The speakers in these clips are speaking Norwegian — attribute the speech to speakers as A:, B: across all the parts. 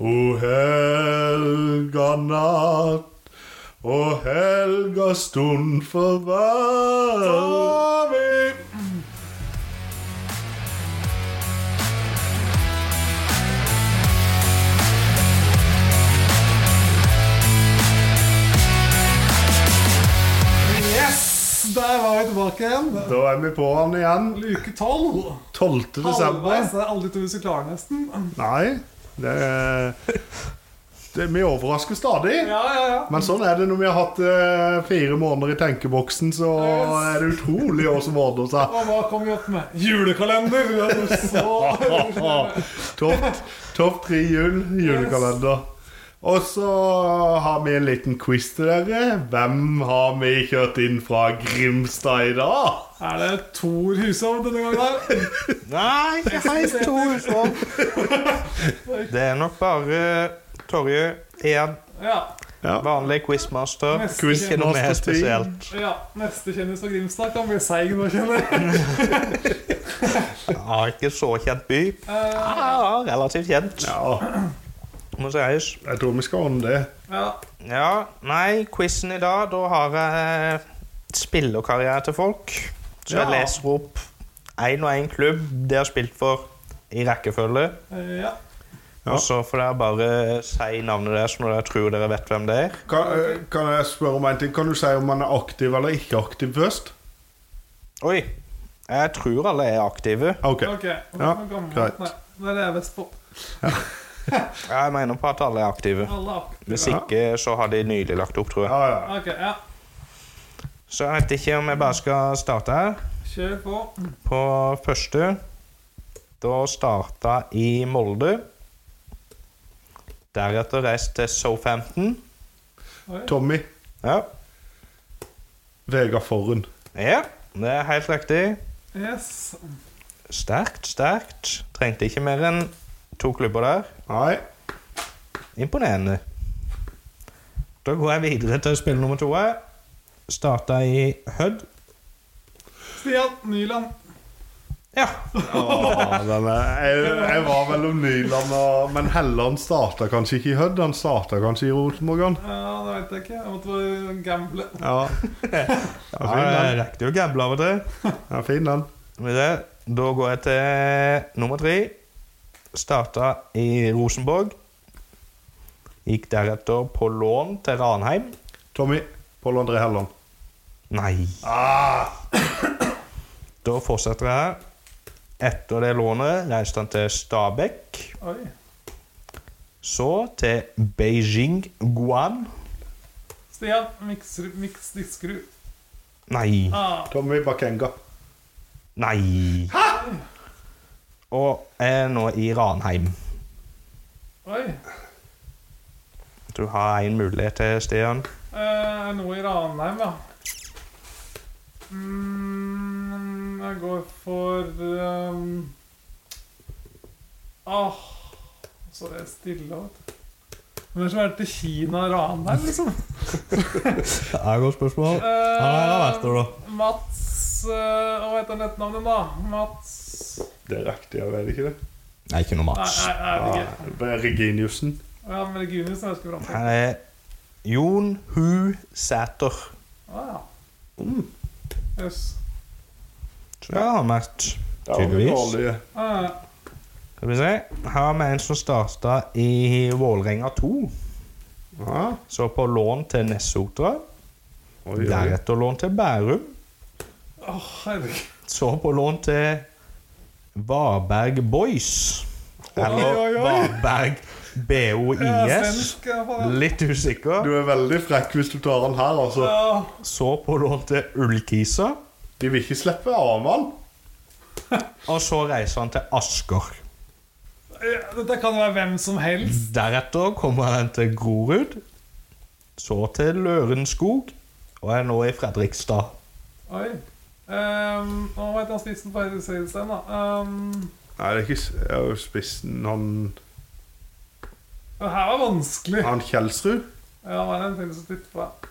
A: O helga natt, o helga stund forvær.
B: Yes! Der var vi tilbake igjen.
A: Da er vi på han igjen.
B: Uke tolv.
A: 12. desember.
B: Halvveis. Det er aldri til vi skal klare, nesten.
A: Nei, det, er- det Vi overrasker stadig.
B: Ja, ja, ja.
A: Men sånn er det når vi har hatt eh, fire måneder i tenkeboksen, så
B: Yes.
A: er det utrolig hva som ordner seg.
B: Og hva kom vi opp med? Julekalender! Det er jo Så
A: Topp topp tre jul, julekalender. Og så har vi en liten quiz til dere. Hvem har vi kjørt inn fra Grimstad i dag?
B: Er det Tor Hushovd denne gangen her?
C: Nei, jeg har ikke to husrom. Det er nok bare Torje igjen.
B: Ja.
A: Ja.
C: Vanlig quizmaster.
B: Neste
A: Quiz
C: Ikke noe mer
A: Master Team.
C: spesielt.
B: ja. Neste kjendis fra Grimstad kan bli seig nå, kjenner jeg.
C: Ja, ikke så kjent by.
B: Eh,
C: Ja, relativt kjent,
A: Ja,
C: må sies.
A: jeg tror vi skal ordne det.
B: ja.
C: Ja, nei, quizen i dag, da har jeg spillerkarriere til folk. Så
A: Ja.
C: jeg leser opp én og én klubb de har spilt for i rekkefølge.
B: Eh, ja.
A: Ja.
C: Og så får dere bare si navnet deres når dere tror dere vet hvem det er.
A: Kan, eh, kan jeg spørre om en ting? Kan du si om man er aktiv eller ikke aktiv først?
C: Oi. Jeg tror alle er aktive.
A: Ok.
B: Ok.
A: Ja,
B: Hvor gammel-
A: greit.
B: Nei, Det er det jeg er best på.
C: Jeg mener på at alle er aktive.
B: Alle er aktive.
C: Hvis ikke, så har de nylig lagt opp, tror jeg.
A: Ja, ja.
B: Ok, ja.
C: Så jeg vet ikke om jeg bare skal starte her.
B: Kjør på.
C: På første Da starta i Molde. Deretter reist til Southampton.
B: Oi.
A: Tommy.
C: Ja.
A: Vegard Forhen.
C: ja, det er helt riktig.
B: Yes.
C: Sterkt, sterkt. Trengte ikke mer enn to klubber der.
A: Nei.
C: Imponerende. Da går jeg videre til spill nummer to. her. Starta i Hødd.
B: Stian Nyland.
C: Ja.
A: Ja, den er, jeg, jeg var mellom Nyland og Men Helland starta kanskje ikke i Hødd, han starta kanskje i Rosenborg. han.
B: Ja, det vet jeg ikke. Jeg måtte bare gamble.
A: Ja. Ja, fin
C: Jeg
A: den.
C: rekte jo å gamble av og til.
A: Ja, fin den.
C: Med det, Da går jeg til nummer tre. Starta i Rosenborg. Gikk deretter på lån til Ranheim.
A: Tommy. Pål André Helland.
C: Nei. Da fortsetter jeg her. Etter det lånet reiste han til Stabekk.
B: Oi.
C: Så til Beijing Guan.
B: Stian Miksru- Miks Diskerud.
C: Nei.
B: Ah,
A: Tommy Bakenga.
C: Nei. Og er nå i Ranheim.
B: oi.
C: Du har én mulighet til, Stian.
B: Eh, noe i Ranheim, ja. Mm, jeg går for um, Åh ah, Så er jeg stille, vet du. Hvem er det som har vært i Kina og Ranheim, liksom?
C: Det er et godt spørsmål.
B: Eh, Mats eh, Hva heter nettnavnet, da? Mats
A: Det er riktig, jeg vet ikke det.
C: Nei, ikke noe
B: Nei,
C: Mats.
B: nei, nei, jeg vet ikke.
A: Ja, Reginiussen.
B: Ja, men Regunius er ganske bra.
C: Her er Jon Hu Sæter.
B: Ah, ja. Yes.
C: Så det har vært
A: Det var
C: Tydeligvis.
A: dårlig.
B: Ah, ja.
C: Skal vi se. Her har vi en som starta i Vålerenga 2.
A: Ja.
C: Så på lån til Nessotra.
A: Oi, oi.
C: Deretter lån til Bærum.
B: Åh, herregud.
C: Så på lån til Varberg Boys. Eller
B: Oi, oi, oi.
C: Varberg
B: Jeg er
C: BOIS.
B: svensk, i hvert fall. ja.
C: Litt usikker.
A: Du er veldig frekk hvis du tar han her, altså.
B: Ja.
C: Så på lån til Ullkisa.
A: De vil ikke slippe av han.
C: Og så reiser han til Asker.
B: Ja, Dette kan jo være hvem som helst.
C: Deretter kommer han til Grorud, så til Lørenskog, og er nå i Fredrikstad.
B: Oi. Um, og hva heter han spissen på Høyresidestein, da? Um,
A: Nei, det er ikke s- jeg er jo spissen Han,
B: det her var vanskelig.
A: han Kjelsrud?
B: Ja, hva er det en ting som titter på deg?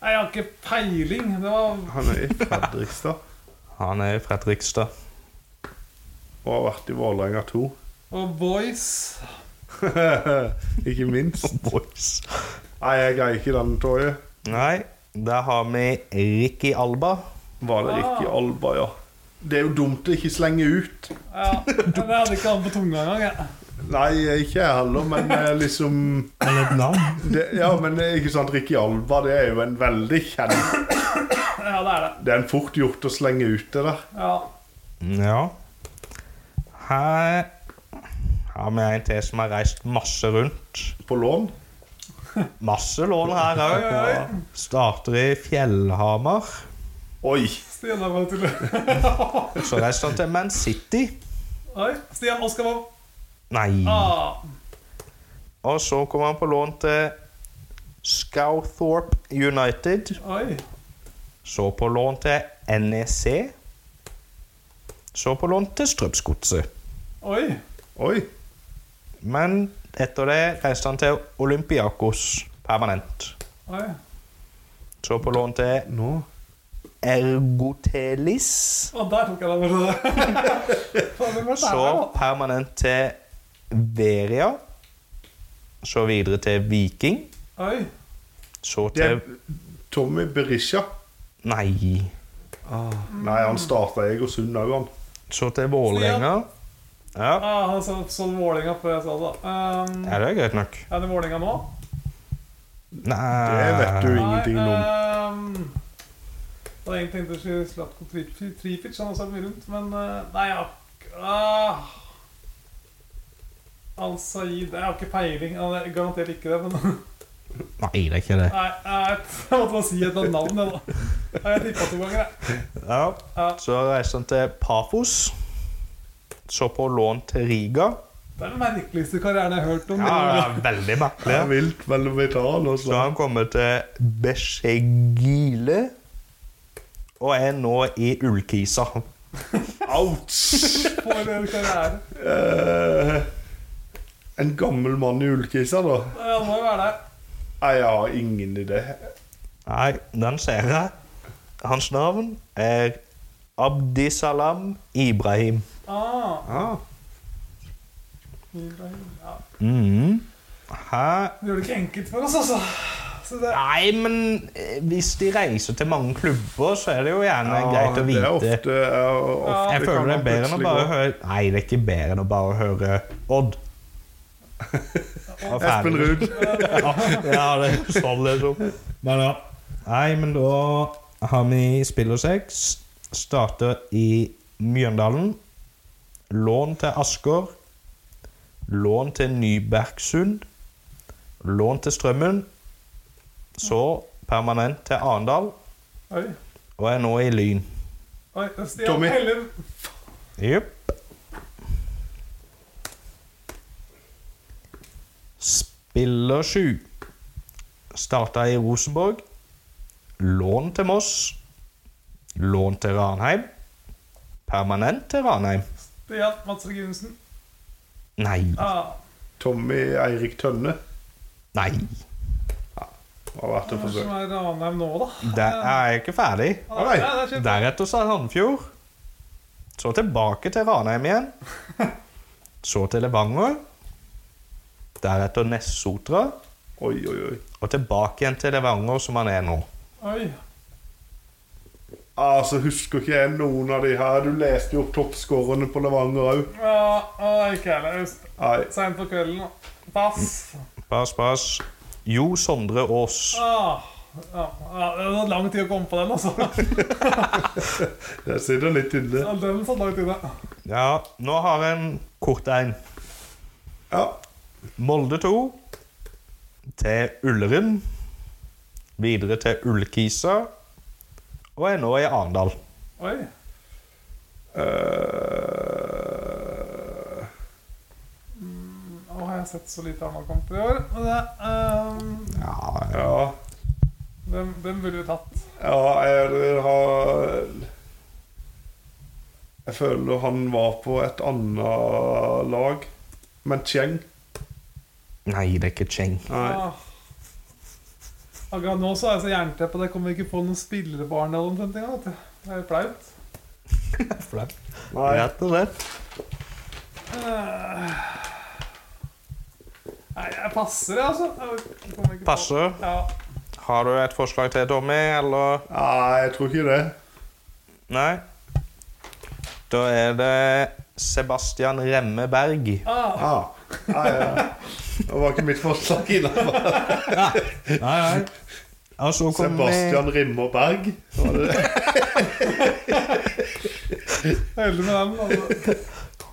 B: Nei, jeg har ikke peiling. Det var
A: Han er i Fredrikstad
C: Han er i Fredrikstad.
A: og har vært i Vålerenga 2.
B: Og Boys.
A: Ikke minst.
C: Boys.
A: Nei, jeg greier ikke den, Torje.
C: Nei, da har vi Ricky Alba.
A: Var det Ricky Alba, ja? Det er jo dumt å ikke slenge ut.
B: Ja, men jeg hadde ikke han på tunga engang. jeg.
A: Nei, ikke jeg heller, men eh, liksom
C: Eller et navn.
A: det, Ja, men det er ikke sant, Ricky Alba det er jo en veldig kjent
B: Ja, det er det.
A: Det er en fort gjort å slenge ut det der.
B: Ja.
C: Ja. Her har vi en til som har reist masse rundt.
A: På lån.
C: Masse lån her òg.
B: Oi, oi.
C: Starter i Fjellhamar.
A: Oi!
B: Stian har vært til
C: Så reiste han til Man City.
B: Oi, Stian Oskar Wold.
C: Nei.
B: Ah,
C: Og så kom han på lån til Scowthorpe United.
B: oi.
C: Så på lån til NEC. Så på lån til Strømsgodset.
B: Oi.
A: Oi!
C: Men etter det reiste han til Olympiakos permanent.
B: Oi.
C: Så på lån til
A: Nå
C: Ergotelis.
B: Og der tok jeg den. vet du. Faen, det var der, da.
C: Så permanent til Veria. Så videre til Viking.
B: Oi.
C: Så
A: Det er
C: til
A: Tommy Berisha.
C: Nei.
A: Nei, han starta i Egersund òg, han.
C: Så til Vålerenga. Ja,
B: Ah, han så, så Vålinga før jeg sa det. Um,
C: er det greit nok?
B: er det Vålinga nå?
C: Nei
A: Det vet du ingenting om.
B: om. Da jeg tenkte jeg skulle Slatko Tri- Tri- Tripic, han også er mye rundt, men eh, Nei, jeg har ikke- ah. Al-Saeed Jeg har ikke peiling. Han er garantert ikke det, men
C: Nei, det er ikke det.
B: Nei, jeg vet- jeg måtte bare si et eller annet navn, jeg, da. Jeg tippa to ganger, jeg.
C: Ja.
B: Ja.
C: Så reiste han til Pafos. Så på lån til Riga.
B: Det er den merkeligste karrieren jeg har hørt om.
C: Ja, det er veldig
A: Det
C: merkelig.
A: er vilt mellom veteran og
C: Så
A: sånn.
C: han kommer til Beshegile og er nå i Ullkisa.
A: Ouch!
B: For en karriere.
A: Eh, en gammel mann i ullkisa, da?
B: Ja, Han må jo være der.
A: Nei, jeg har ingen idé.
C: Nei, den ser jeg. Hans navn er Abdisalam Ibrahim.
B: Ah,
A: Ah.
B: Ibrahim. ja.
C: Mhm. Hæ?
B: Du gjør det ikke enkelt for oss, altså. Så det,
C: Nei, men eh, hvis de reiser til mange klubber, så er det jo gjerne
A: Ja,
C: greit å
A: Det er
C: vite.
A: ofte, er ofte
C: Jeg føler det er bedre enn å bare høre Nei, det er ikke bedre enn å bare høre Odd. Og
A: Espen
C: ferdig.
A: Ruud.
C: Ja, det er sånn, liksom. Men ja. Nei, men da har vi spiller seks. Starter i Mjøndalen. Lån til Asker. Lån til Nybergsund. Lån til Strømmen. Så permanent til Arendal,
B: oi,
C: og er nå i Lyn.
B: oi, Stian
A: Tommy.
B: Hellum.
C: Jepp. Spiller 7. Starta i Rosenborg. Lån til Moss. Lån til Ranheim. Permanent til Ranheim.
B: Stian Mats Regunsen.
C: Nei.
B: Ah,
A: Tommy Eirik Tønne
C: Nei.
A: har vært et
B: hva er det som
A: forsøk.
B: er Ranheim nå, da?
C: Der er jeg ikke ferdig.
B: Ah,
A: Oi.
B: ja, det er kjempe-
C: Deretter så er Handfjord. Så tilbake til Ranheim igjen. Så til Levanger. Deretter Nessotra.
A: Oi, oi, oi.
C: Og tilbake igjen til Levanger, som han er nå.
B: Oi.
A: Altså, Husker ikke jeg noen av de her. Du leste jo opp toppskårerne på Levanger òg.
B: Ja, ah, ikke jeg heller.
A: Nei.
B: Seint på kvelden. da. Pass.
C: Pass, pass. Jo Sondre Aas.
B: Ah, ja, ja, det var lang tid å komme på den, altså.
A: Der sitter litt inne.
B: Ja, Den satt langt inne.
C: Ja, nå har jeg en kort en.
A: Ja.
C: Molde 2 til Ullern. Videre til Ullkisa. Og er nå i Arendal.
B: Oi.
A: Eh,
B: Nå har Mm, jeg sett så lite Arendal-kamper i år. Men det, ehm,
C: Ja,
A: ja.
B: den, den burde vi tatt.
A: Ja, jeg har Jeg føler han var på et annet lag. Men Cheng
C: Nei, det er ikke Cheng.
A: Nei.
B: Ah. Akkurat nå så er jeg så jernteppe at jeg kommer ikke på noen spillere på Arendal omtrent engang. vet du. Det er flaut.
C: Flaut.
A: Nei.
C: Rett og slett.
B: Eh, jeg, jeg passer, jeg, altså. Jeg kommer ikke på-
C: Passer?
B: Ja.
C: Har du et forslag til, Tommy, eller
A: Nei, jeg tror ikke det.
C: Nei? Da er det Sebastian Remme Berg.
B: Ah,
A: Ah, nei, ja. Det var ikke mitt forslag innafor.
C: Nei, nei. Altså, kom med
A: Sebastian Rimmer Berg. Var det det?
B: jeg er heldig med den. Altså. Jeg er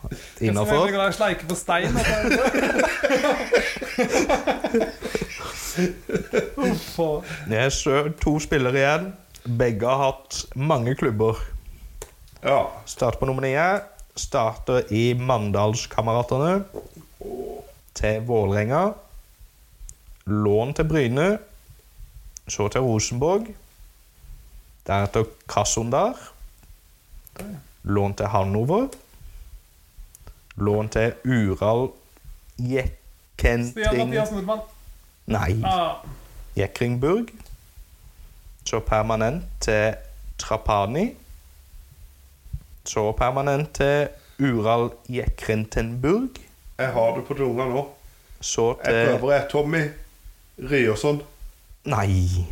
B: så veldig
C: innafor.
B: glad i å sleike på stein. Altså. Uff, og-
C: Det er så- to spillere igjen. Begge har hatt mange klubber.
A: Ja.
C: Start på nummer ni. Starter i Mandalskameratene. Til Vålerenga. Lån til Bryne. Så til Rosenborg. Deretter Krasundar. Lån til Hannover. Lån til Ural
B: Stian
C: Jekkenting
B: Mathias Nordmann.
C: Nei.
B: Ah,
C: Jekringburg. Så permanent til Trapani. Så permanent til Ural Jekrintenburg.
A: Jeg har det på tunga nå.
C: Så
A: Jeg
C: til
A: prøver, jeg. Tommy Ryerson.
C: Nei.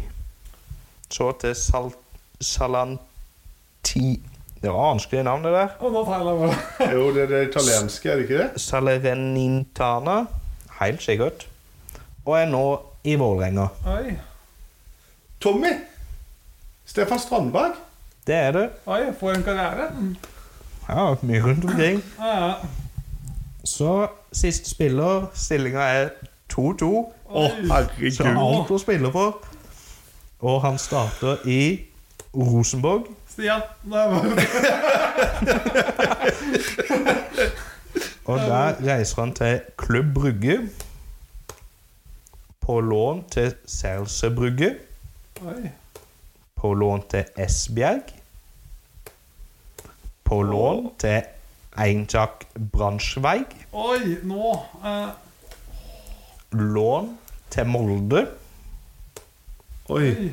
C: Så til Sal Salanti Det var vanskelig navn, det der.
B: og nå tegner jeg bare.
A: Jo, det er det italienske, er det ikke det?
C: Salerentana. Helt sikkert. Og er nå i Vålerenga.
B: Oi,
A: Tommy! Stefan Strandberg.
C: Det er det.
B: oi, for en karriere. Mm. Ah.
C: Ja, mye rundt omkring.
B: Ja, ja.
C: Så siste spiller. Stillinga er 2-2.
A: Å,
C: Så
A: herregud.
C: alt å spille for. Og han starter i Rosenborg.
B: Stian. Nei, bare,
C: Og der reiser han til Klubb Brygge. På lån til Selse Brygge.
B: oi.
C: På lån til Esbjerg. På lån til Eintak Bransjveig.
B: oi, nå. eh,
C: Lån til Molde.
A: Oi.
B: oi,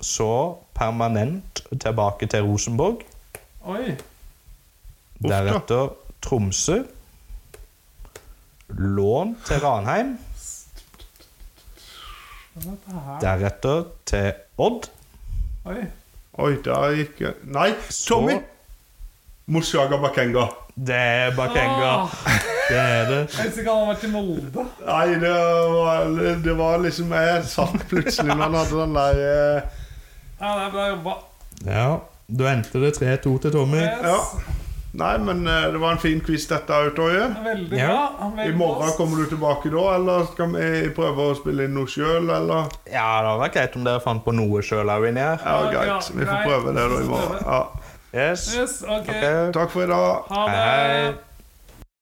C: Så permanent tilbake til Rosenborg.
B: oi.
A: da.
C: Deretter Tromsø. Lån til Ranheim.
B: Hva er dette her?
C: Deretter til Odd.
B: Oi.
A: Oi, der gikk jeg Nei, Tommy! Mushaga Bakenga.
C: Det er Bakenga.
B: Ah,
C: Det er det.
B: jeg visste ikke han har vært i Molde.
A: Nei, det var, det var liksom Jeg satt plutselig når han hadde den der eh,
B: Ja, det er bra jobba.
C: Ja, da endte det 3-2 til Tommy.
A: Ja.
B: Yes.
A: Nei, men eh, det var en fin quiz, dette òg, Torje.
B: Veldig
C: Ja.
B: bra.
A: I
B: Veldig
A: morgen
B: bra.
A: kommer du tilbake da, eller skal vi prøve å spille inn noe sjøl, eller?
C: Ja, det hadde vært greit om dere fant på noe sjøl òg inni her.
A: Ja,
B: Ja,
A: greit.
B: ja,
A: Vi får
B: greit.
A: prøve det da i morgen. Ja.
C: Yes.
B: Yes, ok.
C: Ok.
A: Takk for i dag.
B: Ha
C: Hei, hei.
B: det.